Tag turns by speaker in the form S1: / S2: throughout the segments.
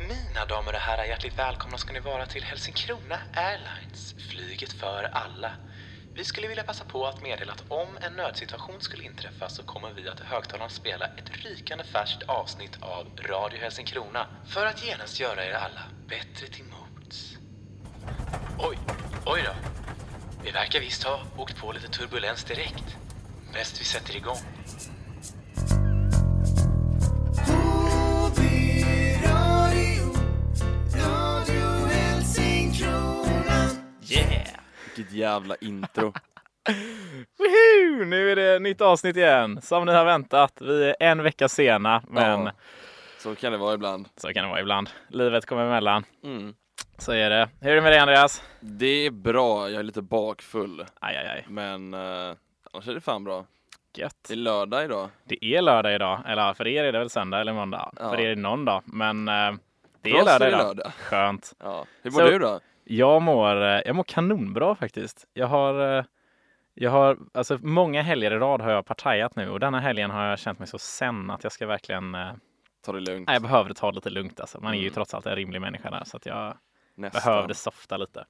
S1: Mina damer och herrar, hjärtligt välkomna ska ni vara till Helsingkrona Airlines, flyget för alla. Vi skulle vilja passa på att meddela att om en nödsituation skulle inträffa så kommer vi att i högtalaren spela ett rykande färskt avsnitt av Radio Helsingkrona för att genast göra er alla bättre till mods. Oj, oj då. Vi verkar visst ha åkt på lite turbulens direkt. Bäst vi sätter igång.
S2: Yeah! Vilket jävla intro.
S3: Woohoo! Nu är det nytt avsnitt igen, som ni har väntat. Vi är en vecka sena, men
S2: Ja, så kan det vara ibland.
S3: så kan det vara ibland. Livet kommer emellan.
S2: Mm.
S3: Så är det. Hur är det med dig Andreas?
S2: Det är bra, jag är lite bakfull.
S3: Aj, aj, aj.
S2: Men eh, annars är det fan bra.
S3: Gött.
S2: Det är lördag idag.
S3: Det är lördag idag, eller ja, för er är det väl söndag eller måndag?
S2: Ja.
S3: För er är det någon dag, men eh, det
S2: För
S3: är
S2: oss är det
S3: lördag idag.
S2: lördag.
S3: Skönt.
S2: Ja. Hur mår
S3: Så-
S2: du då?
S3: Jag mår, eh, jag mår kanonbra faktiskt. Jag har, eh, jag har, alltså många helger i rad har jag partajat nu och denna helgen har jag känt mig så sen att jag ska verkligen eh,
S2: Ta det lugnt.
S3: Nej, jag behövde ta det lite lugnt alltså. Man är ju
S2: Mm.
S3: trots allt en rimlig människa där så att jag
S2: Nästa.
S3: behövde softa lite.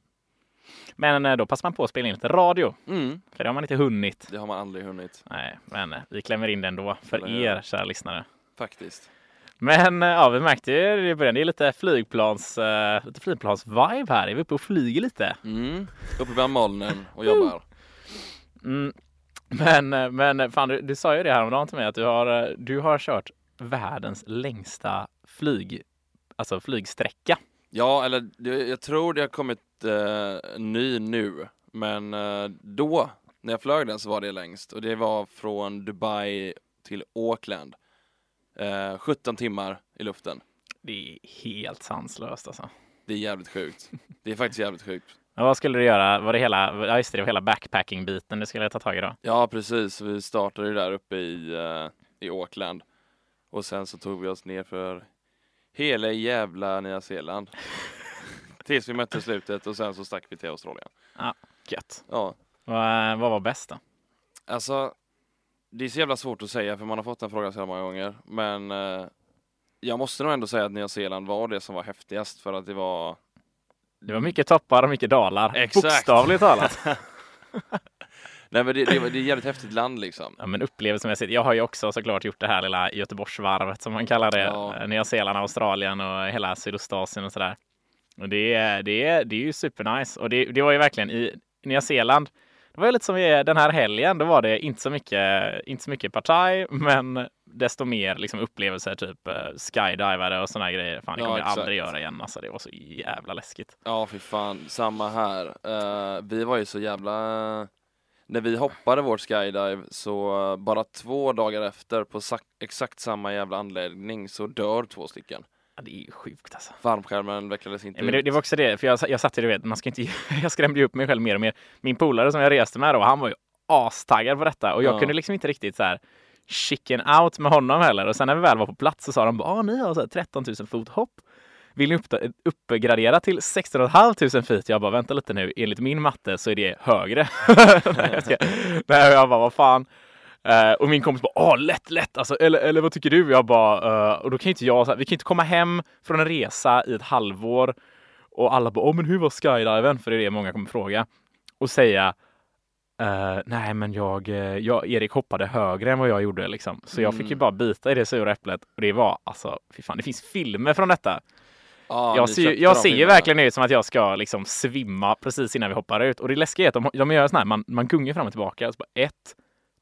S3: Men eh, då passar man på att spela in lite radio,
S2: Mm.
S3: för det har man inte hunnit.
S2: Det har man aldrig hunnit.
S3: Nej, men eh, vi klämmer in det ändå
S2: Eller
S3: för
S2: hur?
S3: er kära lyssnare.
S2: Faktiskt.
S3: Men eh, ja, vi märkte ju i början, det är lite flygplans, eh, lite flygplans-vibe här. Är vi uppe och flyger lite?
S2: Mm. Uppe bland molnen och jobbar.
S3: Mm. Men, eh, men fan, du, du sa ju det häromdagen till mig att du har, eh, du har kört världens längsta flyg, alltså flygsträcka.
S2: Ja, eller det- jag tror det har kommit eh, en ny nu. Men eh, då, när jag flög den så var det längst. Och det var från Dubai till Auckland. Eh, 17 timmar i luften.
S3: Det är helt sanslöst alltså.
S2: Det är jävligt sjukt. Det är faktiskt jävligt sjukt.
S3: Men vad skulle du göra? Var det hela, ja just det, det var hela backpacking-biten du skulle ta tag i då?
S2: Ja, precis. Vi startade ju där uppe i, eh, i Auckland. Och sen så tog vi oss ner för hela jävla Nya Zeeland. Tills vi mötte slutet och sen så stack vi till Australien.
S3: Gött.
S2: Ja,
S3: Vad, vad var bäst då?
S2: alltså. Det är så jävla svårt att säga för man har fått den frågan så jävla många gånger. Men eh, jag måste nog ändå säga att Nya Zeeland var det som var häftigast för att det var
S3: Det var mycket toppar och mycket dalar.
S2: Exakt.
S3: Bokstavligt talat.
S2: Nej men det, det, var- det är ett jävligt häftigt land liksom.
S3: Ja, men upplevelsemässigt. Jag har ju också såklart gjort det här lilla Göteborgsvarvet som man kallar det.
S2: Ja.
S3: Eh, Nya Zeeland, Australien och hela Sydostasien och sådär. Och det, är- det, är- det är ju supernice. Och det, det var ju verkligen i Nya Zeeland. Det var ju lite som i den här helgen. Då var det inte så mycket, inte så mycket partaj, men desto mer liksom upplevelser, typ eh, skydivare och sådana grejer. Fan, det
S2: Ja,
S3: kommer jag
S2: exakt.
S3: aldrig göra igen. Alltså, det var så jävla läskigt.
S2: Ja, för fan. Samma här. Eh, vi var ju så jävla... När vi hoppade vårt skydive så eh, bara två dagar efter på sa- exakt samma jävla anläggning så dör två stycken.
S3: Ja, det är ju sjukt alltså.
S2: Varmskärmen vecklades inte
S3: Nej, men det,
S2: ut.
S3: det var också det, för jag, jag satt ju, du vet, man ska inte, jag skrämde ju upp mig själv mer och mer. Min polare som jag reste med då, han var ju astaggad på detta och jag
S2: Ja.
S3: kunde liksom inte riktigt så här chicken out med honom heller. Och sen när vi väl var på plats så sa de bara, "Ah, ni har så här 13 000 fot hopp. Vill ni upp, uppgradera till 16 500 feet? Jag bara, vänta lite nu, enligt min matte så är det högre. Nej, jag ska, nej, och jag bara, vad fan. Eh, och min kompis bara, åh lätt, lätt, alltså, eller, eller vad tycker du? Jag bara, eh, och då kan ju inte jag, så här, vi kan ju inte komma hem från en resa i ett halvår och alla bara, åh men hur var skydiven? För det är det många kommer fråga. Och säga, eh, nej men jag, eh, jag, Erik hoppade högre än vad jag gjorde liksom. Så jag fick ju
S2: Mm.
S3: bara bita i det sura äpplet och det var alltså, fy fan, det finns filmer från detta.
S2: Ja,
S3: jag
S2: ni
S3: ser, ju-
S2: köpte
S3: jag
S2: de
S3: ser ju
S2: filmerna.
S3: verkligen ut som att jag ska liksom svimma precis innan vi hoppar ut. Och det läskiga är att de, de gör sån här, man, man gungar fram och tillbaka. Och så bara ett,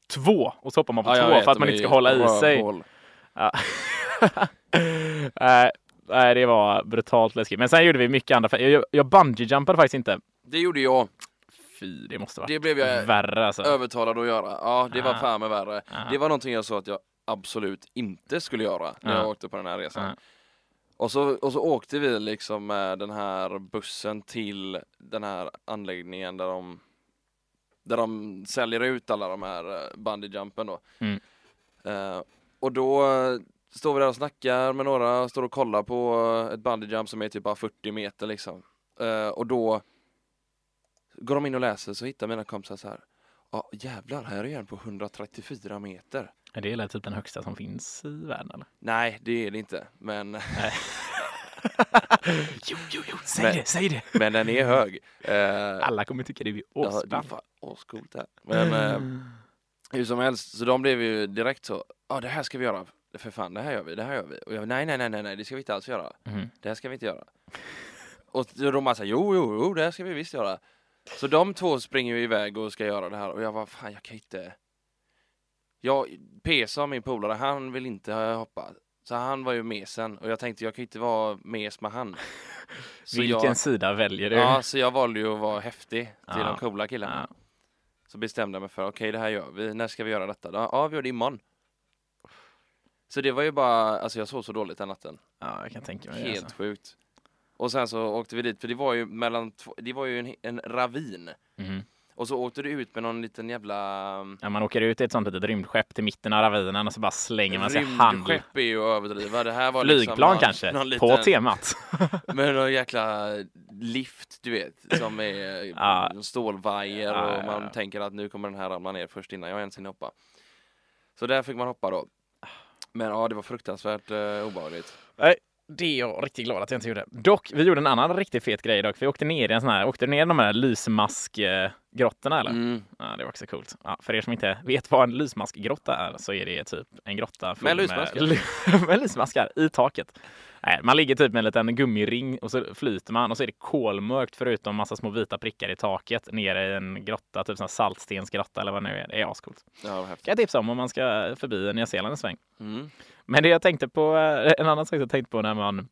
S3: två och så hoppar man på
S2: Ja, jag
S3: två
S2: vet,
S3: för att
S2: de
S3: man
S2: är
S3: inte ska
S2: ju
S3: hålla i sig.
S2: rövhål.
S3: Ja. Nej, nej, det var brutalt läskigt. Men sen gjorde vi mycket andra. Jag, jag, jag bungee-jumpade faktiskt inte.
S2: Det gjorde jag.
S3: Fy, det måste vara
S2: Det blev jag
S3: värre alltså.
S2: övertalad att göra. Ja, det var
S3: Ah.
S2: fan med värre.
S3: Ah.
S2: Det var någonting jag sa att jag absolut inte skulle göra när jag
S3: Ah.
S2: åkte på den här resan.
S3: Ah.
S2: Och, så, och så åkte vi liksom med den här bussen till den här anläggningen där de där de säljer ut alla de här eh, bungee-jumpen då.
S3: Mm.
S2: Eh, och då eh, står vi där och snackar med några, står och kollar på eh, ett bungee-jump som är typ bara 40 meter liksom. Eh, och då går de in och läser så hittar mina kompisar så här. Ja jävlar, här är en på 134 meter.
S3: Är det är typ den högsta som finns i världen eller?
S2: Nej, det är det inte, men
S3: jo, jo, jo, säg
S2: Men-
S3: det, säg det.
S2: Men den är hög. Eh,
S3: Alla kommer tycka det är
S2: Ja, det är
S3: asbra.
S2: fan ascoolt det här. Men
S3: Mm.
S2: eh, hur som helst, så de blev ju direkt så, ja det här ska vi göra, för fan det här gör vi, det här gör vi. Och jag, nej, nej, nej, nej, nej, det ska vi inte alls göra,
S3: Mhm.
S2: det här ska vi inte göra. Och så de bara så här, jo, jo, jo, det här ska vi visst göra. Så de två springer ju iväg och ska göra det här och jag var fan jag kan ju inte. Jag, PSA, min polare, han vill inte eh, hoppa. Så han var ju med sen och jag tänkte jag kan ju inte vara mes med han. Så
S3: Vilken
S2: jag,
S3: sida väljer du?
S2: Ja, så jag valde ju att vara häftig till
S3: Ja.
S2: de coola killarna.
S3: Ja.
S2: Så bestämde jag mig för, okej det här gör vi, när ska vi göra detta? Ja, ja, vi gör det imorgon. Så det var ju bara, alltså jag sov så dåligt den natten.
S3: ja, jag kan tänka mig det.
S2: Helt
S3: Alltså.
S2: sjukt. Och sen så åkte vi dit, för det var ju mellan två, det var ju en, en ravin.
S3: Mhm.
S2: Och så åkte du ut med någon liten jävla...
S3: Ja, man åker ut i ett sånt litet rymdskepp till mitten av ravinen och så bara slänger man sig hand.
S2: mm, Rymdskepp är ju att överdriva. Det här var
S3: Flygplan
S2: liksom någon,
S3: kanske,
S2: Någon
S3: på
S2: liten,
S3: temat.
S2: Men någon jäkla lift, du vet, som är
S3: Ja.
S2: stålvajer
S3: Ja,
S2: och
S3: ja,
S2: man
S3: ja.
S2: tänker att nu kommer den här ramla ner först innan jag ens hinner hoppa. Så där fick man hoppa då. Men ja, det var fruktansvärt eh, obehagligt.
S3: Nej, det är jag riktigt glad att jag inte gjorde. Dock, vi gjorde en annan riktigt fet grej dock. Vi åkte ner i en sån här, åkte du ner i de här lysmaskgrottorna eller?
S2: Mm.
S3: Ja, det var också coolt. Ja, för er som inte vet vad en lysmaskgrotta är så är det typ en grotta full
S2: Med lysmaskar.
S3: Med, med lysmaskar i taket. Nej, man ligger typ med en liten gummiring och så flyter man och så är det kolmörkt förutom massa små vita prickar i taket nere i en grotta, typ sån här saltstensgrotta eller vad det nu är. Det är ascoolt.
S2: Ja, vad häftigt.
S3: Kan jag tipsa om om man ska förbi Nya Zeeland en sväng.
S2: Mm.
S3: Men det jag tänkte på, eh, en annan sak jag tänkte på när man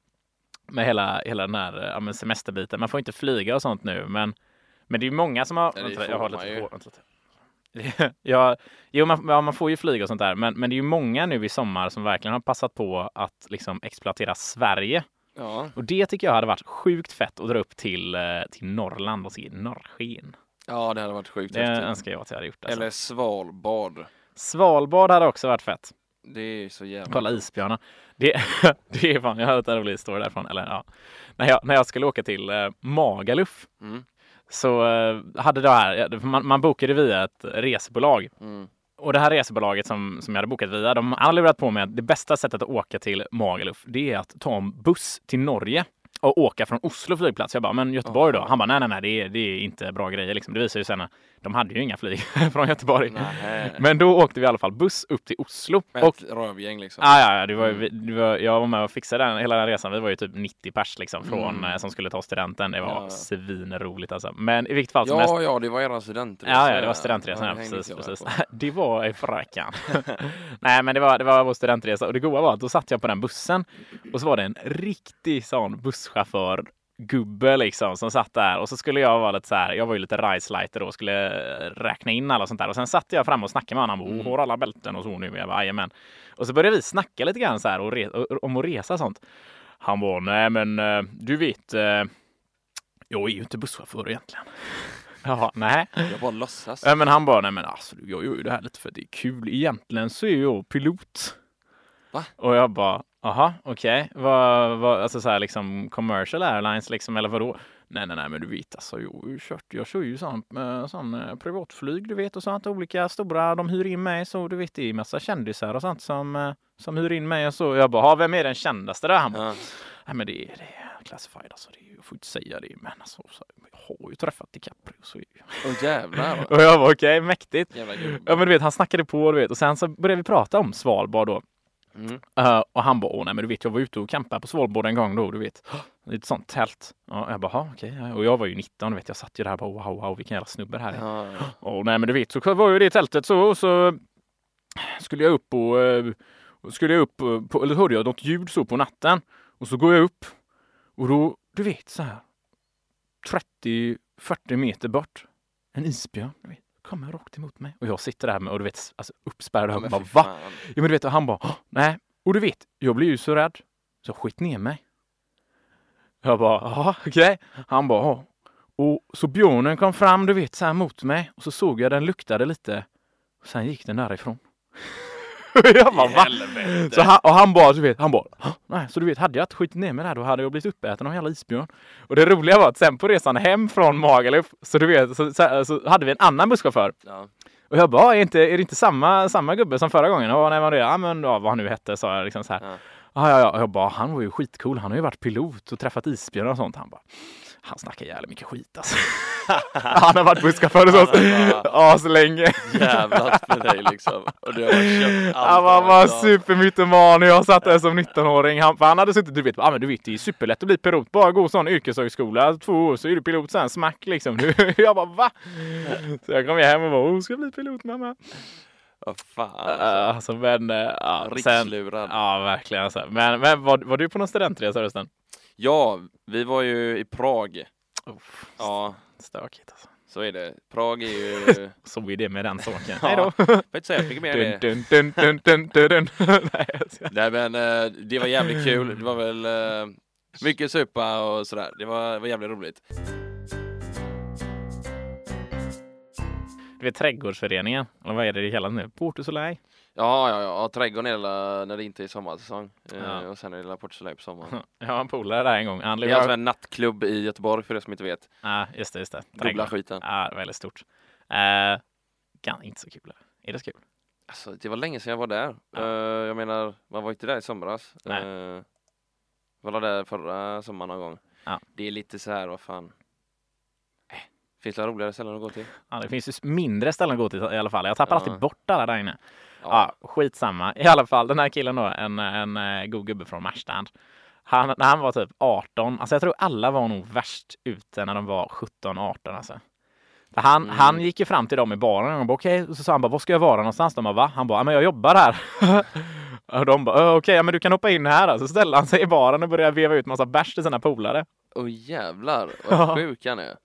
S3: med hela, hela den här eh, ja, men semesterbiten, man får inte flyga och sånt nu, men, men det är ju många som har...
S2: Nej, det
S3: vänta,
S2: får
S3: jag har
S2: man
S3: lite
S2: ju.
S3: på, vänta lite. ja, jo, man, ja, man får ju flyga och sånt där, men, men det är ju många nu i sommar som verkligen har passat på att liksom exploatera Sverige.
S2: Ja.
S3: Och det tycker jag hade varit sjukt fett att dra upp till, eh, till Norrland och se norrsken.
S2: ja, det hade varit sjukt
S3: Det
S2: häftigt.
S3: önskar jag att jag hade gjort. Alltså.
S2: Eller Svalbard.
S3: Svalbard hade också varit fett.
S2: Det är så jävla...
S3: Kolla isbjörnar. Det, det är fan, jag har hört en rolig historia därifrån. Eller, ja. när, jag, när jag skulle åka till eh, Magaluf
S2: Mm.
S3: så eh, hade det här, man, man bokade via ett resebolag.
S2: Mm.
S3: Och det här resebolaget som, som jag hade bokat via, de har lurat på mig att det bästa sättet att åka till Magaluf, det är att ta en buss till Norge och åka från Oslo flygplats. Jag bara, men Göteborg då? Han bara, nej, nej, nej, det är, det är inte bra grejer liksom. Det visar ju sen att de hade ju inga flyg från Göteborg.
S2: Nähä.
S3: Men då åkte vi i alla fall buss upp till Oslo.
S2: Ett
S3: Och
S2: rövgäng liksom.
S3: Ah, ja, ja, det var, ju- vi- det var, jag var med och fixade den, hela den resan. Vi var ju typ 90 pers liksom, från,
S2: Mm.
S3: eh, som skulle ta studenten. Det var
S2: Ja, ja.
S3: svinroligt alltså. Men i vilket fall som helst.
S2: Ja, ja, det var eran studentresa.
S3: Ja, ja, det var studentresan. Ja,
S2: det hängde
S3: precis,
S2: inte jag
S3: precis.
S2: på.
S3: Det var i Frackan. Nej, men det var, det var vår studentresa och det goa var att då satt jag på den bussen och så var det en riktig sån busschaufför gubbe liksom som satt där och så skulle jag vara lite så här. Jag var ju lite rajslighter då och skulle eh, räkna in alla och sånt där och sen satt jag fram och snackade med honom. Han
S2: Mm.
S3: bara, "Åh, har alla bälten och så nu? Jag bara, "Jajamän." Och så började vi snacka lite grann så här och re- och- om att resa och sånt. Han bara, nej, men eh, du vet, eh, jag är ju inte busschaufför egentligen. Jaha, nej.
S2: Jag bara låtsas.
S3: Ja, men han bara, nej men alltså du, jag gör ju det här lite för att det är kul. Egentligen så är jag pilot.
S2: Va?
S3: Och jag bara, aha, okej. Vad, vad, alltså så här liksom commercial airlines liksom, eller vadå? Nej, nej, nej, men du vet alltså, jag har ju kört, jag kör ju sån, eh, sån eh, privatflyg, du vet, och sånt. Olika stora, de hyr in mig, så du vet, det är massa kändisar och sånt som, eh, som hyr in mig och så. Jag bara, "Ha, vem är den kändaste där? Han bara,
S2: Ja.
S3: Nej men det är, det är classified alltså, det är, ju- jag får inte säga det men alltså, så, jag har ju träffat DiCaprio så är ju...
S2: Åh jävlar.
S3: Och jag bara okej, mäktigt.
S2: Jävla gubbe.
S3: Ja men du vet, han snackade på du vet, och sen så började vi prata om Svalbard då.
S2: Mm.
S3: Eh, och han bara, åh nej men du vet jag var ute och campade på Svalbard en gång då, du vet. I ett sånt tält. Ja, jag bara, "Ha, okej. ja." Och jag var ju 19, du vet, jag satt ju där och bara, wow, wow, vilken jävla snubbe det här är.
S2: Ja, ja.
S3: Åh nej men du vet, så var ju det i tältet så, och så skulle jag upp och eh, skulle jag upp, eh, på, eller hörde jag något ljud så på natten och så går jag upp och då, du vet så här 30-40 meter bort, en isbjörn, du vet, kommer rakt emot mig och jag sitter där med och du vet, alltså uppspärrad ögon,
S2: Men
S3: bara
S2: fy
S3: va?
S2: fan.
S3: Ja men du vet, och han bara, "Åh, nej. Och du vet, jag blir ju så rädd. Så jag skit ner mig. Jag bara, ja okej. Han bara, ja. Och så björnen kom fram, du vet, så här mot mig. Och så såg jag den luktade lite. Och sen gick den därifrån. jag bara, va? Så han, och han bara, du vet, han bara, "Hå? nej, så du vet, hade jag inte skitit ner mig där då hade jag blivit uppäten av hela isbjörn. Och det roliga var att sen på resan hem från Magaluf, så du vet, så, så, så hade vi en annan busschaufför.
S2: Ja.
S3: Och jag bara, är, inte, är det inte samma, samma gubbe som förra gången? Och när man redan, ja men ja, vad han nu hette, sa jag liksom så här.
S2: Ja.
S3: Och Ja, ja, ja. Och Jag bara, han var ju skitcool. Han har ju varit pilot och träffat isbjörnar och sånt. Han bara, han snackar jävligt mycket skit alltså. han har varit busschaufför hos oss aslänge.
S4: Jävlar med dig liksom. Och du har köpt allt
S3: Han var,
S4: av
S3: var
S4: allt.
S3: supermytoman och jag satt där som 19-åring. Han, för han hade suttit, du vet, ah, men du vet, det är superlätt att bli pilot. Bara gå sån yrkeshögskola, två år så är du pilot sen, smack liksom. Nu- jag bara va? Så jag kom ju hem och bara, oh, ska bli pilot mamma.
S4: Ja, fan.
S3: Äh, Alltså men, äh, ja,
S2: alltså.
S3: sen,
S4: Rikslurad.
S3: ja verkligen. Alltså. Men, men var, var du på någon studentresa förresten?
S2: Ja, vi var ju i Prag. Ja,
S3: Stökigt alltså.
S2: så är det. Prag är ju...
S3: Så är det med den saken.
S2: Ja,
S3: Hej då!
S2: Jag vill inte säga så mycket mer än det.
S3: Dun, dun, dun, dun, dun, dun. Nej, jag ska-
S2: Nej men eh, det var jävligt kul. Det var väl eh, mycket supa och sådär. Det var, det var jävligt roligt.
S3: Du vet trädgårdsföreningen, eller vad är det det kallas nu? Porto Soleil?
S2: Ja, ja, ja. ja trädgården är hela, när det inte är sommarsäsong. Eh,
S3: Ja.
S2: Och sen är det La Porte Soleil på sommaren.
S3: Jag har en polare där en gång. Han
S2: Det
S3: lurade...
S2: är alltså en nattklubb i Göteborg för er som inte vet.
S3: Ja, just det, just det.
S2: Dubbla skiten.
S3: Ja, väldigt stort. Uh, kan, inte så kul. Är det så kul?
S2: Alltså det var länge sedan jag var där.
S3: Ja.
S2: Eh, jag menar, man var inte där i somras.
S3: Nej.
S2: Eh, jag var där förra sommaren någon gång.
S3: Ja.
S2: Det är lite så här, vad fan. Eh, Finns det roligare ställen att gå till?
S3: Ja, det finns ju s- mindre ställen att gå till i alla fall. Jag tappar
S2: Ja.
S3: alltid bort alla där inne. Ja. skitsamma. I alla fall, den här killen då, en, en eh, god gubbe från Marstrand. Han, när han var typ 18, alltså jag tror alla var nog värst ute när de var 17-18 alltså. För han,
S2: Mm.
S3: han gick ju fram till dem i baren och bara okej, och så sa han bara vad ska jag vara någonstans? De bara va? Han bara, "Ja, men jag jobbar här. och de bara, "Ö, okej, ja, men du kan hoppa in här. då." Så ställde han sig i baren och började veva ut massa bärs till sina polare.
S2: Åh jävlar, vad sjuk han är.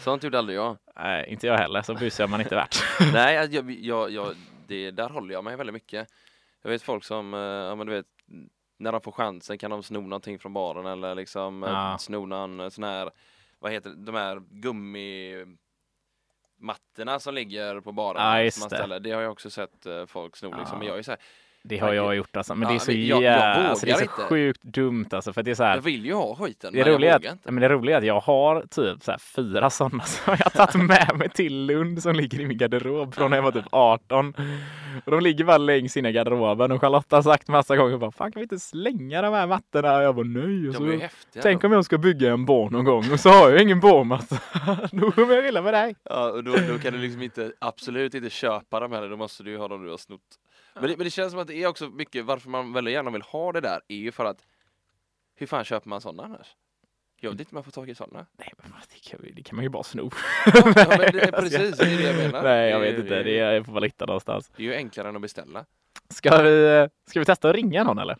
S2: Sånt gjorde aldrig jag.
S3: Nej, inte jag heller, så busig har man inte varit.
S2: Nej, alltså, jag, jag, jag, det, där håller jag mig väldigt mycket. Jag vet folk som, eh, ja men du vet, när de får chansen kan de sno någonting från baren eller liksom eh,
S3: Ja.
S2: sno någon eh, sån här, vad heter det, de här gummimattorna som ligger på baren.
S3: Ja,
S2: som
S3: just
S2: man
S3: det.
S2: ställer. det har jag också sett eh, folk sno liksom.
S3: Ja.
S2: Men jag är så här,
S3: Det har jag gjort alltså. Men
S2: Ja,
S3: det är så
S2: men jag- jag
S3: jävla, alltså, det är så
S2: vågar inte.
S3: sjukt dumt alltså. För att det är så här,
S2: jag vill ju ha skiten
S3: Det
S2: men jag
S3: roliga, är
S2: vågar
S3: att,
S2: inte.
S3: men det roliga är att jag har typ så här fyra sådana som jag har tagit med mig till Lund som ligger i min garderob från när jag var typ 18. Och de ligger bara längst in i garderoben och Charlotta har sagt massa gånger bara fan kan vi inte slänga de här mattorna? Och jag bara nej. Och
S2: De är ju
S3: så,
S2: häftiga.
S3: tänk
S2: då.
S3: om jag ska bygga en bar någon gång och så har jag ingen barmatta. Då kommer jag illa med dig.
S2: Ja, och då, då kan du liksom inte, absolut inte köpa dem heller, då måste du ju ha dem du har snott. Men det, men det känns som att det är också mycket, varför man väldigt gärna vill ha det där, är ju för att hur fan köper man sådana annars? Jag vet inte om man får tag i sådana.
S3: Nej, men vad, det, kan, det kan man ju bara sno.
S2: Ja, men det är precis det är det jag menar.
S3: Nej, jag
S2: Det är-
S3: vet inte. Det
S2: Det är,
S3: är, jag får väl hitta någonstans.
S2: det är ju enklare än att beställa.
S3: Ska vi, ska vi testa att ringa någon eller?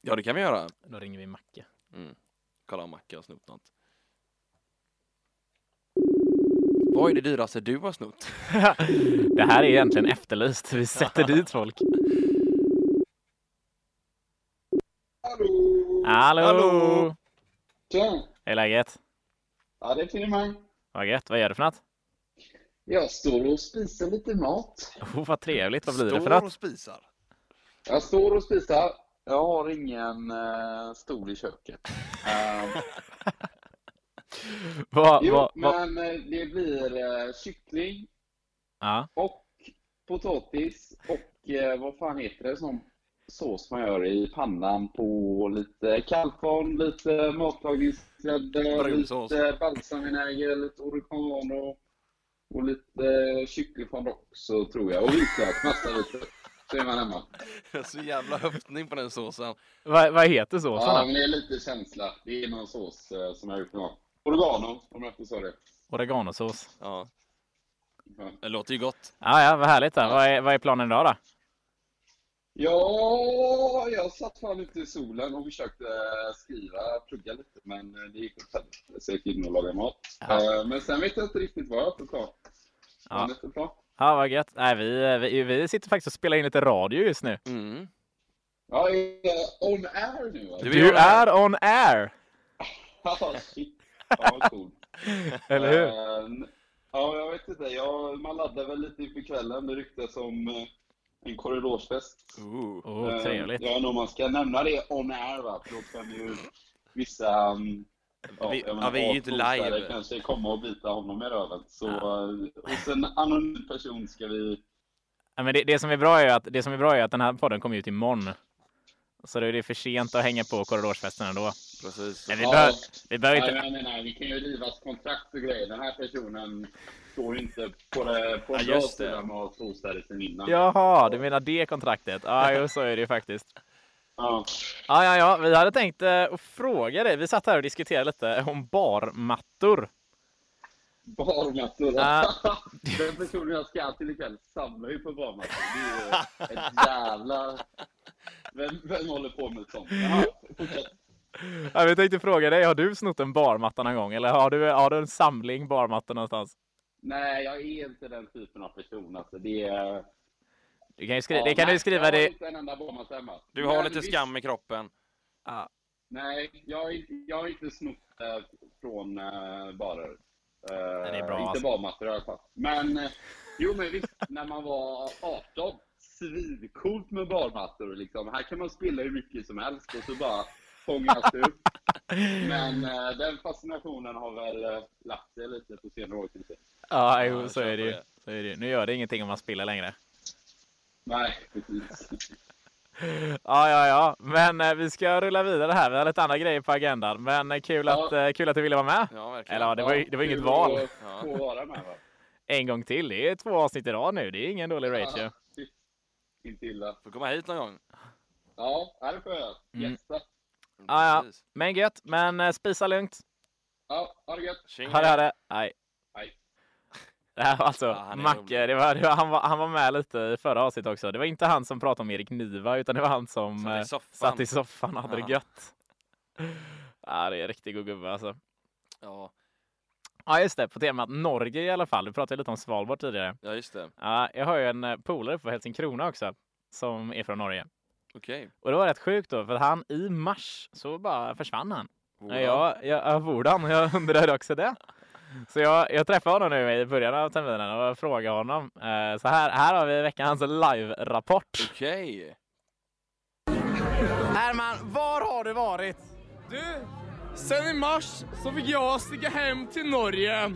S2: Ja, det kan vi göra.
S3: Då ringer vi Macke.
S2: Kolla om Macke har snott något. Vad är det dyraste du har snott?
S3: Det här är egentligen efterlyst. Vi sätter dit folk.
S5: Hallå!
S3: Hallå!
S2: Hallå!
S5: Tja!
S3: Hur är läget?
S5: Ja, det är finemang.
S3: Vad gött. Vad gör du för något?
S5: Jag står och spisar lite mat.
S3: Oh, vad trevligt. Vad blir det för
S2: Står
S3: något?
S2: och spisar.
S5: Jag står och spisar. Jag har ingen eh, stol i köket. Eh,
S3: Vad,
S5: jo,
S3: vad, vad?
S5: men eh, det blir eh, kyckling
S3: Ja,
S5: och potatis och eh, vad fan heter det som sås man gör i pannan på lite kalvkorn, lite matlagningsgrädde,
S2: Brunsås.
S5: lite balsamvinäger, lite oregano och lite eh, kycklingfond också tror jag. Och vitlök, massa vitlök. Så är man hemma.
S2: Så jävla höftning på den såsen.
S3: vad, vad heter såsen?
S5: Ja,
S3: då?
S5: men det är lite känsla. Det är någon sås eh, som jag har gjort någon gång. Oregano, om jag inte sa det.
S3: Oreganosås.
S2: Ja,
S5: Ja.
S2: det låter ju gott.
S3: Ja, ja, vad härligt. Då. Vad, är, vad är planen idag då?
S5: Ja, jag satt fan ute i solen och försökte eh, skriva, plugga lite, men eh, det gick åt helvete. Så jag gick in och lagade mat.
S3: Ja.
S5: Eh, Men sen vet jag inte riktigt vad jag får ta.
S3: Ja.
S5: Ja. Inte bra.
S3: Ja, vad gött. Nej, vi, vi, vi sitter faktiskt och spelar in lite radio just nu.
S2: Mm.
S5: ja, är jag on air nu
S2: Du
S5: alltså?
S2: är
S3: Du
S2: on
S3: är on air!
S5: Ja, shit. Ja, vad coolt.
S3: Eller hur?
S5: Eh, Ja, jag vet inte. Jag, man laddar väl lite inför kvällen. Det ryktas om eh, en korridorsfest.
S2: Ooh.
S3: Oh,
S5: Eh,
S3: trevligt.
S5: Ja, nog man ska nämna det on air va, för då kan ju vissa... um,
S2: Vi-
S5: jag menar,
S2: ja, vi är ju inte
S5: avtotare
S2: live.
S5: kanske komma och bita honom i röven. Så eh, hos en anonym person ska vi...
S3: Ja, men det, det, som är bra är ju att, det som är bra är att den här podden kommer ut imorgon. Så då är det för sent att hänga på korridorsfesten ändå.
S2: Precis.
S3: Men vi,
S5: Ja.
S3: behöver, vi behöver
S5: Nej,
S3: inte...
S5: men jag menar, vi kan ju rivas kontrakt och grejer. Den här personen står ju inte på, det, på en
S4: Ja,
S5: bra
S4: just det.
S5: sida med att ha sen innan.
S3: Jaha, du menar det kontraktet? Ja, jo, så är det ju faktiskt.
S5: Ja.
S3: Ja, ja, ja, vi hade tänkt eh, att fråga dig. Vi satt här och diskuterade lite om barmattor.
S5: Barmattor.
S3: Ja.
S5: Den personen jag ska till ikväll samlar ju på barmattor. Det är ju ett jävla... Vem, vem håller på med sånt? Ja, fortsätt.
S3: Ja, vi tänkte fråga dig, har du snott en barmatta någon gång? Eller har du, har du en samling barmattor någonstans?
S5: Nej, jag är inte den typen av person. Alltså, det, är...
S3: Du kan ju skri-
S5: Ja,
S3: det kan du
S5: nej,
S3: skriva
S5: Jag har
S3: det...
S5: inte en enda barmatta hemma.
S2: Du har
S5: Men
S2: lite
S5: visst,
S2: skam i kroppen.
S5: Nej, jag har inte, jag har inte snott eh, från eh, barer. Eh,
S3: det är bra,
S5: inte
S3: alltså.
S5: barmattor i alla fall. Men eh, jo, men visst, när man var 18, svincoolt med barmattor. Liksom. Här kan man spilla hur mycket som helst och så bara fångas det upp. Men eh, den fascinationen har väl eh, lagt sig lite på senare år. kanske.
S3: Ja,
S4: Ja,
S3: jo,
S4: jag
S3: så
S4: köper
S3: är det ju.
S4: det.
S3: Så är det ju. Nu gör det ingenting om man spiller längre.
S5: Nej, precis.
S3: Ja, ja, ja. Men eh, vi ska rulla vidare här. Vi har lite andra grejer på agendan. Men eh, kul,
S5: Ja.
S3: att, eh, kul att du ville vara med.
S2: Ja, verkligen.
S3: Eller ja, det var, ju- det var
S5: Ja,
S3: inget
S5: kul
S3: val.
S5: att Få vara med, va?
S3: En gång till. Det är två avsnitt i rad nu. Det är ingen dålig ratio.
S5: Ja, shit. Inte illa.
S2: Får komma hit någon gång.
S5: Ja, här får jag
S3: Mm.
S5: gästa.
S3: Ja, ja.
S2: Precis.
S3: Men gött. Men eh, spisa lugnt.
S5: Ja, ha det gött.
S2: Tjing.
S3: Ha det, ha det. Nej.
S5: Hej.
S3: Det här var alltså
S2: Ja, han är
S3: Macke.
S2: rolig.
S3: Det var, det var, han, var, han var med lite i förra avsnittet också. Det var inte han som pratade om Erik Niva, utan det var han som
S2: Satt i
S3: eh,
S2: soffan.
S3: satt i soffan och hade det
S2: Ja.
S3: gött. Ja, det är en riktig god gubbe alltså.
S2: Ja,
S3: Ja, just det. På temat Norge i alla fall. Du pratade ju lite om Svalbard tidigare.
S2: ja just det.
S3: Ja, jag har ju en eh, polare från Helsingkrona också som är från Norge.
S2: Okej.
S3: Och det var rätt sjukt då, för att han i mars så bara försvann han.
S2: Okay.
S3: Ja, jag, jag, Vordan, jag undrade också det. Så jag, jag träffade honom nu i början av terminen och jag frågade honom. Eh, så här, här har vi veckans live-rapport.
S2: Okej.
S6: Herman, var har du varit? Du, sen i mars så fick jag sticka hem till Norge.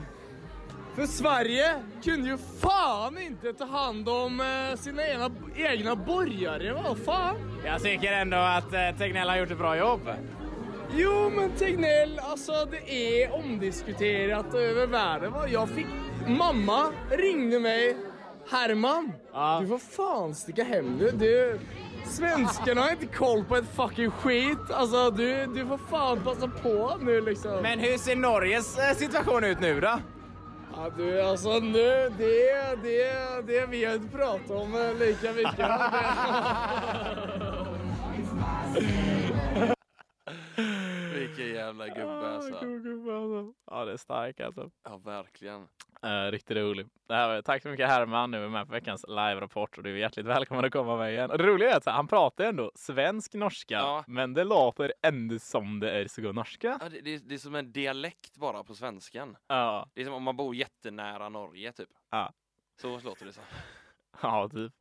S6: För Sverige kunde ju fan inte ta hand om eh, sina egna, egna borgare, vad fan?
S3: Jag tycker ändå att eh, Tegnell har gjort ett bra jobb.
S6: Jo men Tegnell, alltså det är omdiskuterat över världen. vad Jag fick, mamma ringde mig. Herman,
S3: Ja.
S6: du får fan sticka hem nu. Du, svenskarna har inte koll på ett fucking skit. Alltså du, du får fan passa på nu liksom.
S3: Men hur ser Norges eh, situation ut nu då?
S6: Ja, du, alltså nu, det, det, det vi har inte pratat om eh, lika mycket.
S2: Vilken jävla gubbe alltså.
S3: Ja, det är starkt alltså.
S2: Ja, verkligen.
S3: Eh, riktigt rolig. Det här var, tack så mycket Herman, du är med på veckans live-rapport och du är hjärtligt välkommen att komma med igen. Och det roliga är att så här, han pratar ju ändå svensk-norska,
S2: Ja.
S3: men det låter ändå som det är så norska.
S2: Ja, det, det, är- det är som en dialekt bara på svenskan.
S3: Ja,
S2: Det är som om man bor jättenära Norge typ.
S3: Ja.
S2: Så låter det som.
S3: ja typ.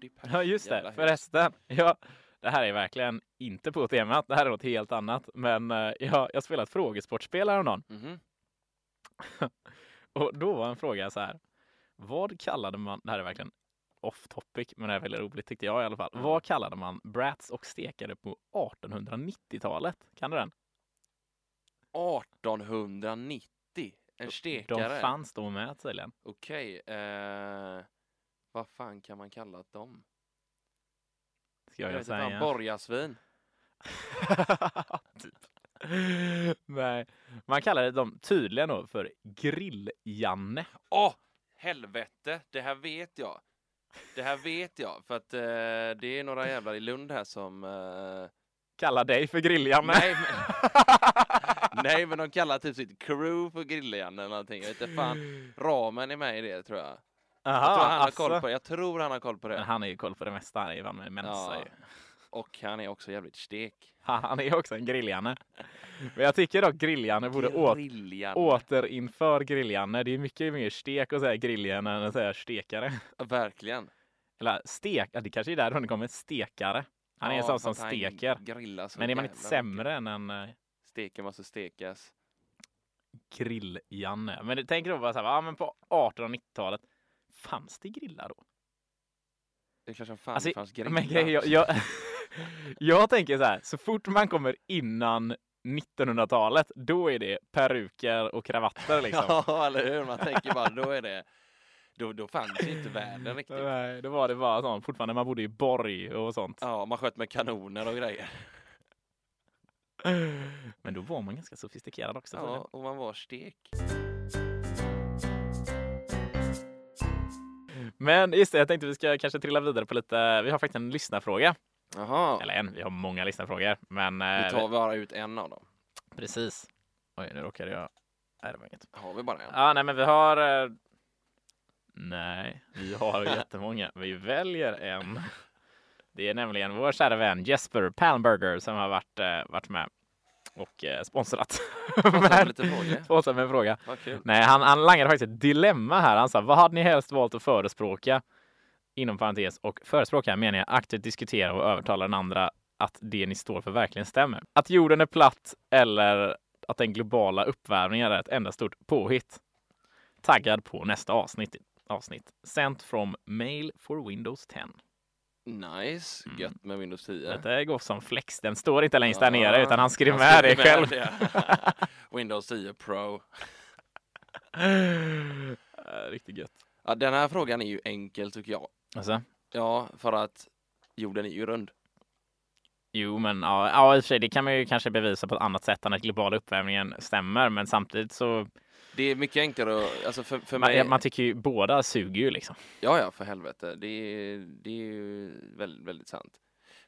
S2: Det är perfekt.
S3: Ja, just
S2: Jävla
S3: det,
S2: hus.
S3: förresten. Ja, det här är verkligen inte på temat, det här är något helt annat. Men eh, jag, jag spelade ett frågesportspel häromdagen
S2: Mhm.
S3: och då var en fråga så här. Vad kallade man, det här är verkligen off topic, men det här är väldigt roligt tyckte jag i alla fall.
S2: Mm.
S3: Vad kallade man brats och stekare på 1890-talet? Kan du den?
S2: 1890. En
S3: De
S2: stekare.
S3: fanns då med tydligen.
S2: Okej. Eh, vad fan kan man kalla dem?
S3: Ska
S2: Jag
S3: jag,
S2: vet inte. fan,
S3: säga.
S2: Borgarsvin.
S3: typ. Nej, man kallade dem tydligen då för grill-Janne.
S2: Åh! helvete! Det här vet jag. Det här vet jag. För att eh, det är några jävlar i Lund här som... Eh,
S3: Kalla dig för grill-Janne.
S2: nej, men, nej, men de kallar typ sitt crew för grilljan eller någonting. Jag vet inte fan. Ramen är med i det tror jag.
S3: Aha,
S2: Jag tror han har
S3: alltså.
S2: koll på det. Jag tror han har koll på
S3: Men
S2: det.
S3: han är ju koll på det mesta. Han är ju van med Mensa
S2: Ja.
S3: ju.
S2: Och han är också jävligt stek.
S3: Han är ju också en grill-Janne. Men jag tycker dock grill-Janne borde åt
S2: Grilljan.
S3: återinför grill-Janne. Det är mycket mer stek och säga grill-Janne än att säga stekare.
S2: Verkligen.
S3: Eller stek, ja, det kanske är därifrån det kommer, stekare. Han är en
S2: Ja, för
S3: sån som
S2: att han
S3: steker.
S2: grillar så
S3: Men är man inte
S2: jävla
S3: sämre än en eh,
S2: mycket. Steken måste stekas.
S3: grill-Janne? Men det- tänk då bara så här, ja men på 1890-talet, fanns det grillar då?
S2: Det är klart som fan
S3: Alltså,
S2: det fanns grejer.
S3: Men grejen, jag, jag, jag tänker så här, så fort man kommer innan 1900-talet, då är det peruker och kravatter liksom.
S2: Ja, eller hur? Man tänker bara, då är det... Då, då fanns ju inte världen riktigt.
S3: Nej, då var det bara sånt. Fortfarande man bodde i borg och sånt.
S2: Ja, man sköt med kanoner och grejer.
S3: Men då var man ganska sofistikerad också.
S2: Ja, och man var stek.
S3: Men just det, jag tänkte vi ska kanske trilla vidare på lite. Vi har faktiskt en lyssnarfråga.
S2: Jaha,
S3: Eller en, vi har många lyssnarfrågor. Men
S2: vi
S3: eh,
S2: tar bara ut en av dem.
S3: precis. Oj, nu råkade jag. Nej, det var inget.
S2: Har vi bara en?
S3: Ja, nej, men vi har. eh, Nej, vi har jättemånga. Vi väljer en. Det är nämligen vår kära vän Jesper Palmberger som har varit, eh, varit med och eh, sponsrat.
S2: Sponsrar med
S3: Men-
S2: lite frågor.
S3: sponsrat med en fråga.
S2: Vad kul.
S3: Nej, han, han langade faktiskt ett dilemma här. Han sa, vad hade ni helst valt att förespråka? Inom parentes och förespråka menar jag aktivt diskutera och övertala den andra att det ni står för verkligen stämmer. Att jorden är platt eller att den globala uppvärmningen är ett enda stort påhitt. Taggad på nästa avsnitt. avsnitt. Sent from mail for Windows 10.
S2: Nice, gött med Windows 10.
S3: Detta går som flex. Den står inte längst Mm. där nere
S2: Ja,
S3: utan han skrev
S2: han
S3: med
S2: skrev
S3: det själv.
S2: Windows 10 Pro.
S3: Eh, Riktigt gött.
S2: Ja, den här frågan är ju enkel tycker jag.
S3: Alltså,
S2: Ja, för att jorden är ju rund.
S3: Jo, men ja, ja, i och för sig, det kan man ju kanske bevisa på ett annat sätt än att globala uppvärmningen stämmer. Men samtidigt så,
S2: Det är mycket enklare att, alltså för, för mig...
S3: man, man tycker ju båda suger ju liksom.
S2: Ja, ja, för helvete. Det är, det är ju väldigt, väldigt sant.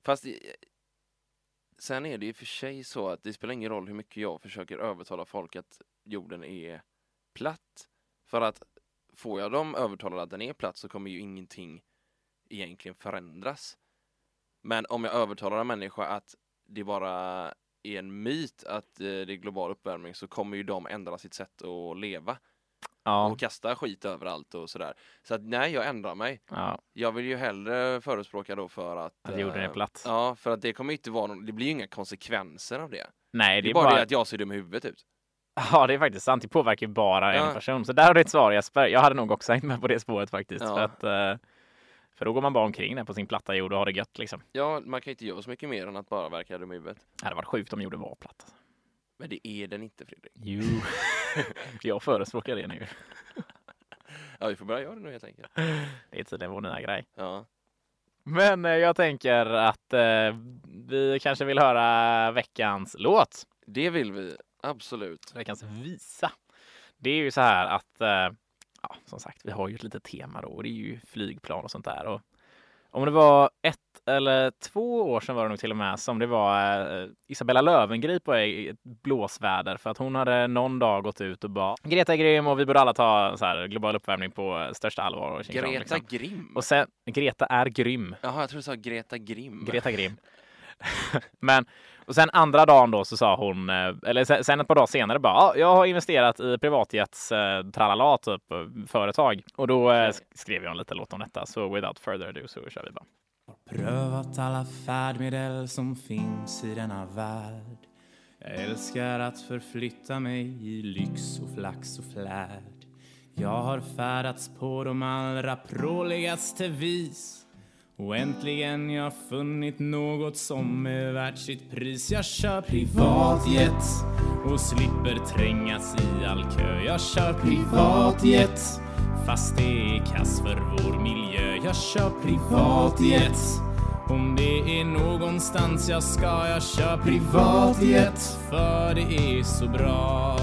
S2: Fast i- sen är det ju för sig så att det spelar ingen roll hur mycket jag försöker övertala folk att jorden är platt. För att får jag dem övertalade att den är platt så kommer ju ingenting egentligen förändras. Men om jag övertalar en människa att det bara är en myt att eh, det är global uppvärmning så kommer ju de ändra sitt sätt att leva
S3: Ja,
S2: och kasta skit överallt och sådär. Så att nej, jag ändrar mig.
S3: ja
S2: Jag vill ju hellre förespråka då för att...
S3: att jorden är
S2: eh,
S3: platt.
S2: Ja, för att det kommer inte vara någon, det blir ju inga konsekvenser av det.
S3: Nej,
S2: Det är bara, det att jag ser dum i huvudet ut.
S3: ja, det är faktiskt sant. Det påverkar ju bara
S2: Ja.
S3: en person. Så där har du ett svar Jesper. Jag hade nog också hängt med på det spåret faktiskt.
S2: Ja.
S3: För, att, eh, för då går man bara omkring där på sin platta jord och har det gött liksom.
S2: Ja, man kan ju inte göra så mycket mer än att bara verka dum i huvudet.
S3: Det hade varit sjukt om jorden var platt. alltså.
S2: Men det är den inte, Fredrik.
S3: Jo, jag förespråkar det nu.
S2: Ja, vi får börja göra det nu helt enkelt.
S3: Det är tydligen vår nya grej.
S2: Ja.
S3: Men eh, jag tänker att eh, vi kanske vill höra veckans låt.
S2: Det vill vi, absolut.
S3: Veckans visa. Det är ju så här att, eh, ja, som sagt, vi har ju ett litet tema då och det är ju flygplan och sånt där. Och om det var ett eller två år sedan var det nog till och med som det var eh, Isabella Löwengrip var i ett blåsväder för att hon hade någon dag gått ut och bara Greta är grym och vi borde alla ta så här, global uppvärmning på eh, största allvar. Och tjing tjong",
S2: Greta
S3: liksom.
S2: Grimm.
S3: Och sen, Greta är grym.
S2: Jaha, jag tror du sa Greta Grimm.
S3: Greta Grimm. Men och sen andra dagen då så sa hon, eh, eller sen- sen ett par dagar senare bara, "Ja, jag har investerat i privatjets eh, tralala typ eh, företag. Och då eh, sk- skrev jag en liten låt om detta. Så without further ado så kör vi bara.
S7: Prövat alla färdmedel som finns i denna värld. Jag älskar att förflytta mig i lyx och flax och flärd. Jag har färdats på de allra pråligaste vis. Och äntligen jag funnit något som är värt sitt pris. Jag kör privatjet och slipper trängas i all kö. Jag kör privatjet fast det är kass för vår miljö. Jag kör privatjet om det är någonstans jag ska, jag kör privatjet för det är så bra.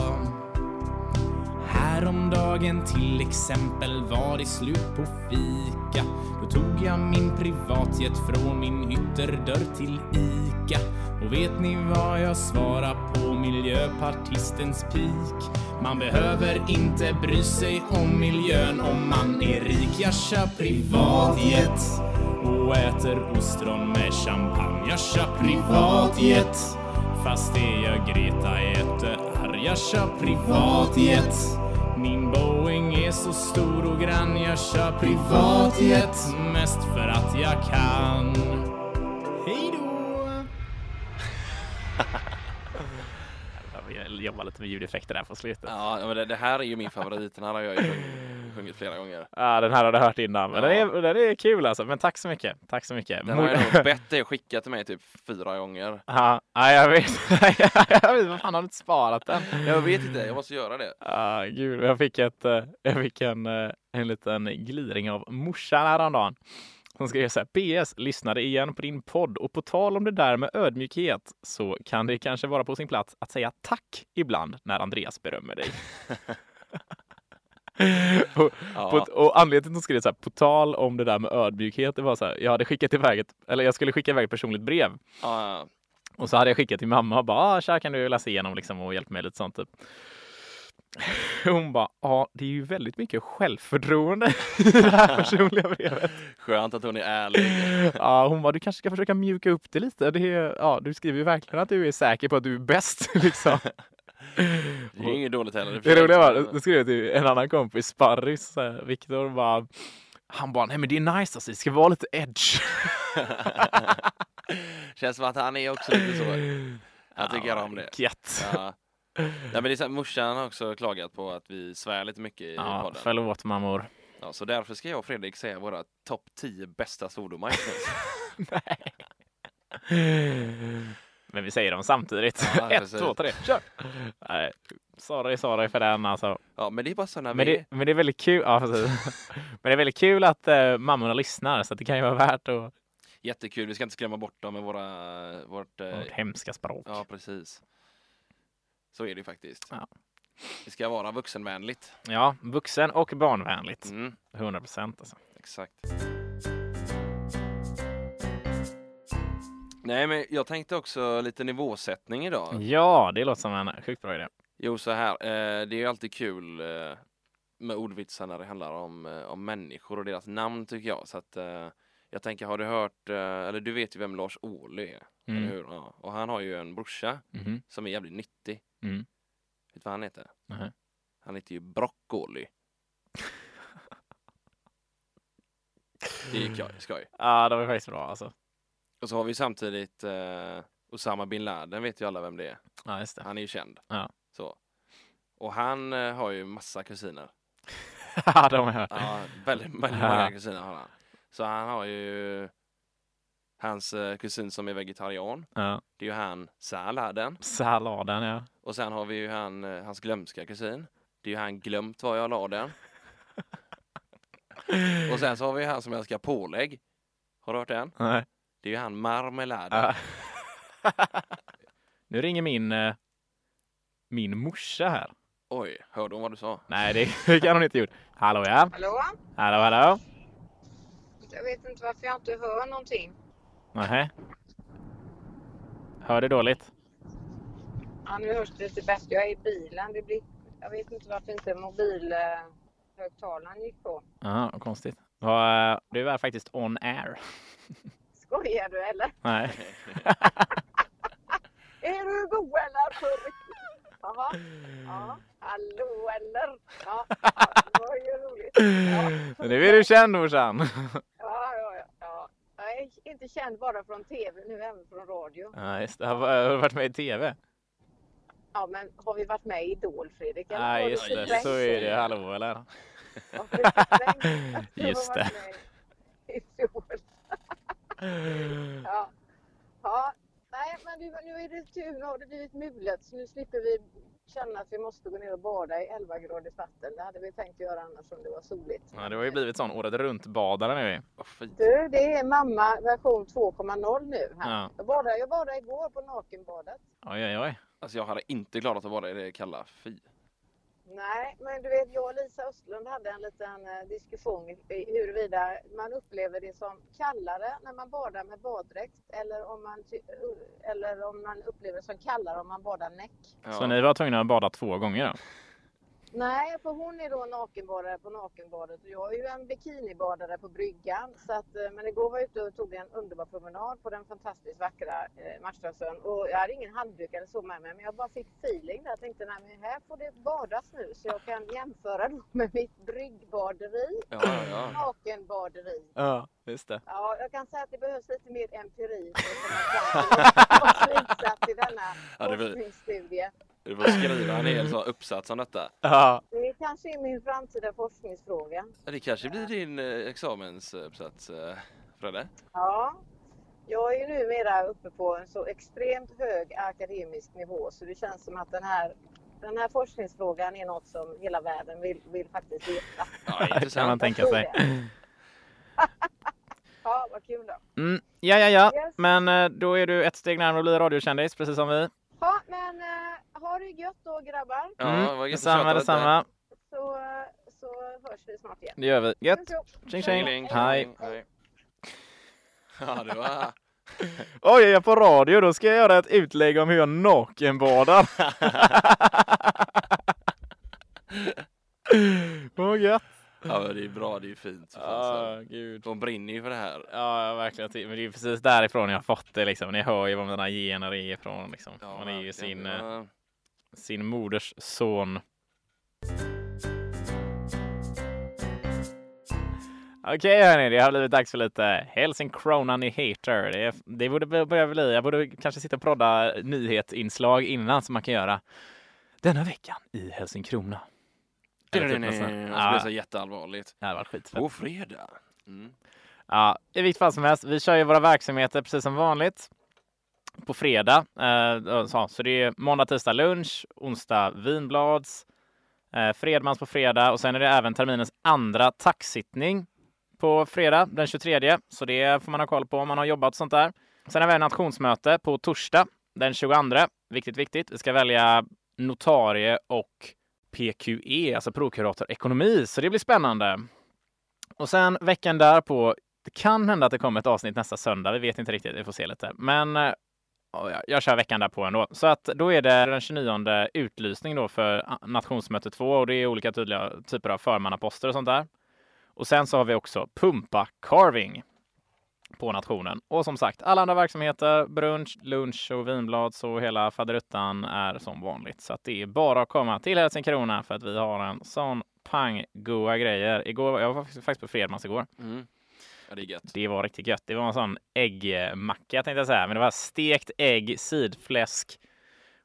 S7: Häromdagen till exempel var det slut på fika. Då tog jag min privatjet från min ytterdörr till ICA. Och vet ni vad jag svarar på miljöpartistens pik? Man behöver inte bry sig om miljön om man är rik. Jag kör privatjet och äter ostron med champagne. Jag kör privatjet fast det gör Greta jättearg. Jag kör privatjet min Boeing är så stor och grann. Jag kör privatjet mest för att jag kan. Hej då!
S3: Jag jobbar lite med ljudeffekter där på slutet.
S2: Ja, men det, det här är ju min favorit. Den här har jag ju sjungit flera gånger.
S3: Ja, den här har du hört innan. Men
S2: Ja.
S3: den, är, den är kul alltså. Men tack så mycket. Tack så mycket.
S2: Den
S3: Mo-
S2: har jag nog bett dig skicka till mig typ fyra gånger.
S3: Ja, ja, jag vet. jag vet. Vad fan har du inte sparat den?
S2: Jag vet inte, jag måste göra det.
S3: Ah, gud, jag fick, ett, eh, jag fick en, eh, en liten gliring av morsan häromdagen. Hon skrev så här, PS, lyssnade igen på din podd och på tal om det där med ödmjukhet så kan det kanske vara på sin plats att säga tack ibland när Andreas berömmer dig. och,
S2: Ja.
S3: på, ett- och anledningen till att hon skrev så här, på tal om det där med ödmjukhet, det var så här, jag hade skickat iväg ett, eller jag skulle skicka iväg ett personligt brev
S2: Ja,
S3: och så hade jag skickat till mamma och bara, ah, tja kan du läsa igenom liksom och hjälpa mig lite sånt typ. Hon bara, ja ah, det är ju väldigt mycket självförtroende i det här personliga brevet.
S2: skönt att hon är ärlig.
S3: Ja, hon bara, du kanske ska försöka mjuka upp det lite. Det är, ja, du skriver ju verkligen att du är säker på att du är bäst liksom.
S2: Det är inget dåligt heller.
S3: Det roliga var, då skrev jag till en annan kompis, Sparris, så här, Viktor, och bara, han bara, nej men det är nice alltså, det ska vara lite edge.
S2: Känns som att han är också lite så. Jag tycker om det.
S3: Gött.
S2: Ja. Ja, men det är så här, morsan har också klagat på att vi svär lite mycket i
S3: Ja,
S2: podden.
S3: förlåt mammor.
S2: Ja, så därför ska jag och Fredrik säga våra topp 10 bästa svordomar just nu.
S3: Men vi säger dem samtidigt.
S2: Ja,
S3: Ett,
S2: precis.
S3: två, tre, kör! Nej, sorry, sorry för den alltså.
S2: Ja, men det är bara sådana
S3: Men
S2: vi
S3: det,
S2: är.
S3: men det är väldigt kul. Ja, precis. Men det är väldigt kul att eh, mammorna lyssnar så att det kan ju vara värt att...
S2: Jättekul, vi ska inte skrämma bort dem med våra, vårt... eh,
S3: Vårt hemska språk.
S2: Ja, precis. Så är det ju faktiskt.
S3: Ja.
S2: Det ska vara vuxenvänligt.
S3: Ja, vuxen och barnvänligt.
S2: Mm,
S3: 100 procent alltså.
S2: exakt. Nej, men jag tänkte också lite nivåsättning idag.
S3: Mm. Ja, det låter som en sjukt bra idé.
S2: Jo, så här. Eh, det är ju alltid kul eh, med ordvitsar när det handlar om, eh, om människor och deras namn tycker jag. Så att, eh, jag tänker, har du hört, eh, eller du vet ju vem Lars Ohly är, eller
S3: Mm.
S2: hur? Ja. Och han har ju en brorsa
S3: Mhm.
S2: som är jävligt nyttig.
S3: Mm.
S2: Vet du vad han heter?
S3: Nej.
S2: Han heter ju Brock Ohly. Det är ju skoj, skoj.
S3: Ja, det var faktiskt bra alltså.
S2: Och så har vi samtidigt eh, Osama bin Laden, vet ju alla vem det är.
S3: Ja, just det.
S2: Han är ju känd.
S3: Ja.
S2: Så. Och han eh, har ju massa kusiner.
S3: Ja, de har jag hört.
S2: Ja, väldigt, väldigt
S3: Ja.
S2: många kusiner har han. Så han har ju hans eh, kusin som är vegetarian.
S3: Ja.
S2: Det är ju han Saladen.
S3: Salladen, ja.
S2: Och sen har vi ju han, eh, hans glömska kusin. Det är ju han glömt var jag la den. Och sen så har vi ju han som älskar pålägg. Har du hört den?
S3: Nej.
S2: Det är ju han marmeladen.
S3: Ja. nu ringer min, eh, min morsa här.
S2: Oj, hörde hon vad du sa?
S3: Nej, det- det kan hon inte gjort. Hallå ja.
S8: Hallå?
S3: Hallå, hallå.
S8: Jag vet inte varför jag inte hör någonting.
S3: Nähä. Hör du dåligt?
S8: Ja, nu hörs det lite bättre. Jag är i bilen. Det blir... Jag vet inte varför inte mobilhögtalaren gick på.
S3: Ja, vad konstigt. Vad, eh, Du är faktiskt on air.
S8: Skojar du eller?
S3: Nej.
S8: Är du god eller? Jaha. Ja. Hallå eller? Ja. ja, det var ju roligt. Ja.
S3: Nu är du känd morsan.
S8: Ja, ja, ja, ja. Jag är inte känd bara från tv nu, även från radio.
S3: Ja, just det. Har har du varit med i tv?
S8: Ja, men har vi varit med i Idol, Fredrik? eller?
S3: Ja,
S8: Har du
S3: just det.
S8: förträngt
S3: Så är det. Hallå eller?
S8: Ja, förträngt att du har
S3: Just
S8: varit med i Idol. Ja. ja. Nej, men nu, nu är det tur. Nu har det blivit mulet så nu slipper vi känna att vi måste gå ner och bada i 11 gradigt vatten. Det hade vi tänkt göra annars om det var soligt.
S3: Ja, du har ju blivit sån året runt-badare nu.
S2: Vad fint.
S8: Du, det är mamma version 2.0 nu. Här.
S3: Ja.
S8: Jag, badade, jag badade igår på nakenbadet.
S3: Oj, oj, oj.
S2: Alltså jag hade inte klarat att vara i det kalla. Fy.
S8: Nej, men du vet, jag och Lisa Östlund hade en liten eh, diskussion i- i huruvida man upplever det som kallare när man badar med baddräkt eller om man, ty- eh, eller om man upplever det som kallare om man badar näck.
S2: Ja.
S3: Så ni var tvungna att bada två gånger då?
S8: Nej, för hon är då nakenbadare på nakenbadet och jag är ju en bikinibadare på bryggan. Så att, eh, men igår var jag ute och tog en underbar promenad på den fantastiskt vackra eh, Marstrasön och jag hade ingen handduk eller så med mig men jag bara fick feeling där. Jag tänkte nej men här får det badas nu så jag kan jämföra då med mitt bryggbaderi,
S2: Ja, ja, ja.
S8: nakenbaderi.
S3: Ja, just det.
S8: Ja, jag kan säga att det behövs lite mer empiri för att komma fram till någon slutsats i denna
S2: Ja, det blir-
S8: forskningsstudie.
S2: Du får skriva en hel sån uppsats om detta.
S3: Ja,
S8: Det kanske är min framtida forskningsfråga.
S2: Ja, Det kanske blir din eh, examensuppsats, eh, Fredde?
S8: Ja, jag är ju numera uppe på en så extremt hög akademisk nivå så det känns som att den här, den här forskningsfrågan är något som hela världen vill, vill faktiskt veta.
S2: Ja,
S3: det kan man
S2: intressant.
S3: tänka sig.
S8: Ja, vad kul då.
S3: Mm, ja, ja, ja.
S8: Yes.
S3: Men eh, då är du ett steg närmare att bli radiokändis, precis som vi.
S8: Ja, men eh, ha det gött då grabbar
S3: Mm.
S2: Ja, det var gött att
S3: detsamma,
S2: prata lite.
S3: detsamma.
S8: så, så hörs vi snart igen.
S3: Det gör vi. Gött!
S8: Puss och kram.
S3: Tjing,
S2: Tjing, tjing.
S3: tjing. Hej!
S2: Hej. Ja, det var...
S3: Oj, jag är på radio. Då ska jag göra ett utlägg om hur jag nakenbadar. Vad gött!
S2: Ja, men det är bra, det är ju fint. Fan, så.
S3: gud.
S2: De brinner ju för det här.
S3: Ja, ja, verkligen. Men det är ju precis därifrån jag har fått det liksom. Ni hör ju var mina gener är ifrån liksom.
S2: Ja,
S3: Man är ju
S2: verkligen.
S3: sin,
S2: Det
S3: eh,
S2: var-
S3: sin moders son. Okej hörni, det har blivit dags för lite Helsingkrona Nyheter. Det, det borde bör- börja bli. Jag borde kanske sitta och prodda nyhetsinslag innan som man kan göra denna veckan i Helsingkrona.
S2: Det
S3: Eller typ
S2: är
S3: något sånt.
S2: det
S3: Ja.
S2: blir så jätteallvarligt.
S3: Det hade varit skitfett.
S2: På fredag. Mm.
S3: Ja, i vilket fall som helst, vi kör ju våra verksamheter precis som vanligt på fredag. Eh, så, så det är måndag, tisdag lunch, onsdag vinblads, eh, Fredmans på fredag och sen är det även terminens andra taxittning på fredag den 23. Så det får man ha koll på om man har jobbat och sånt där. Sen har vi en nationsmöte på torsdag den 22. Viktigt, viktigt. Vi ska välja notarie och PQE, alltså prokurator ekonomi. Så det blir spännande. Och sen veckan därpå, det kan hända att det kommer ett avsnitt nästa söndag. Vi vet inte riktigt, vi får se lite. Men eh, ja, jag- jag kör veckan därpå ändå. Så att då är det den 29 utlysning då för a- nationsmöte 2 och det är olika tydliga typer av förmannaposter och sånt där. Och sen så har vi också pumpa carving på nationen. Och som sagt, alla andra verksamheter, brunch, lunch och vinblad så hela faderuttan är som vanligt. Så att det är bara att komma till Helsingkrona för att vi har en sån pang goa grejer. Igår, jag var faktiskt faktiskt på Fredmans igår.
S2: Mm. Ja, det är gött.
S3: Det var riktigt gött. Det var en sån äggmacka tänkte jag säga, men det var stekt ägg, sidfläsk,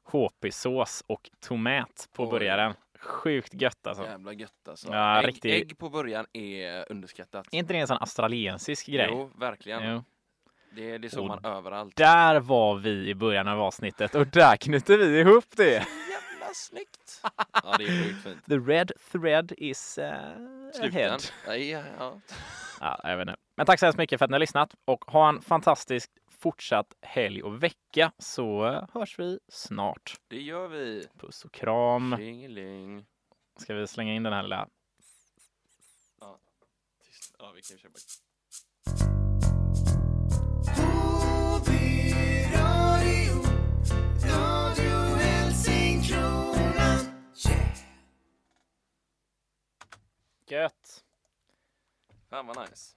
S3: HP-sås och tomät på
S2: Oj.
S3: burgaren. Sjukt gött alltså.
S2: Jävla gött alltså.
S3: Ja,
S2: ägg,
S3: riktigt.
S2: ägg på början är underskattat.
S3: Är inte det en sån australiensisk grej?
S2: Jo, verkligen.
S3: Jo.
S2: Det, det såg
S3: Och
S2: man överallt.
S3: Där var vi i början av avsnittet och där knyter vi ihop det.
S2: Jävla snyggt! Ja, det är sjukt fint.
S3: The red thread is uh,
S2: Slutligen.
S3: ahead.
S2: Ja, ja.
S3: Ja, jag vet inte. Men tack så hemskt mycket för att ni har lyssnat och ha en fantastisk fortsatt helg och vecka så eh, hörs vi snart.
S2: Det gör vi.
S3: Puss och kram.
S2: Tjingeling.
S3: Ska vi slänga in den här lilla
S2: Ja, vi kan ju köpa.
S3: Gött!
S2: Fan vad nice.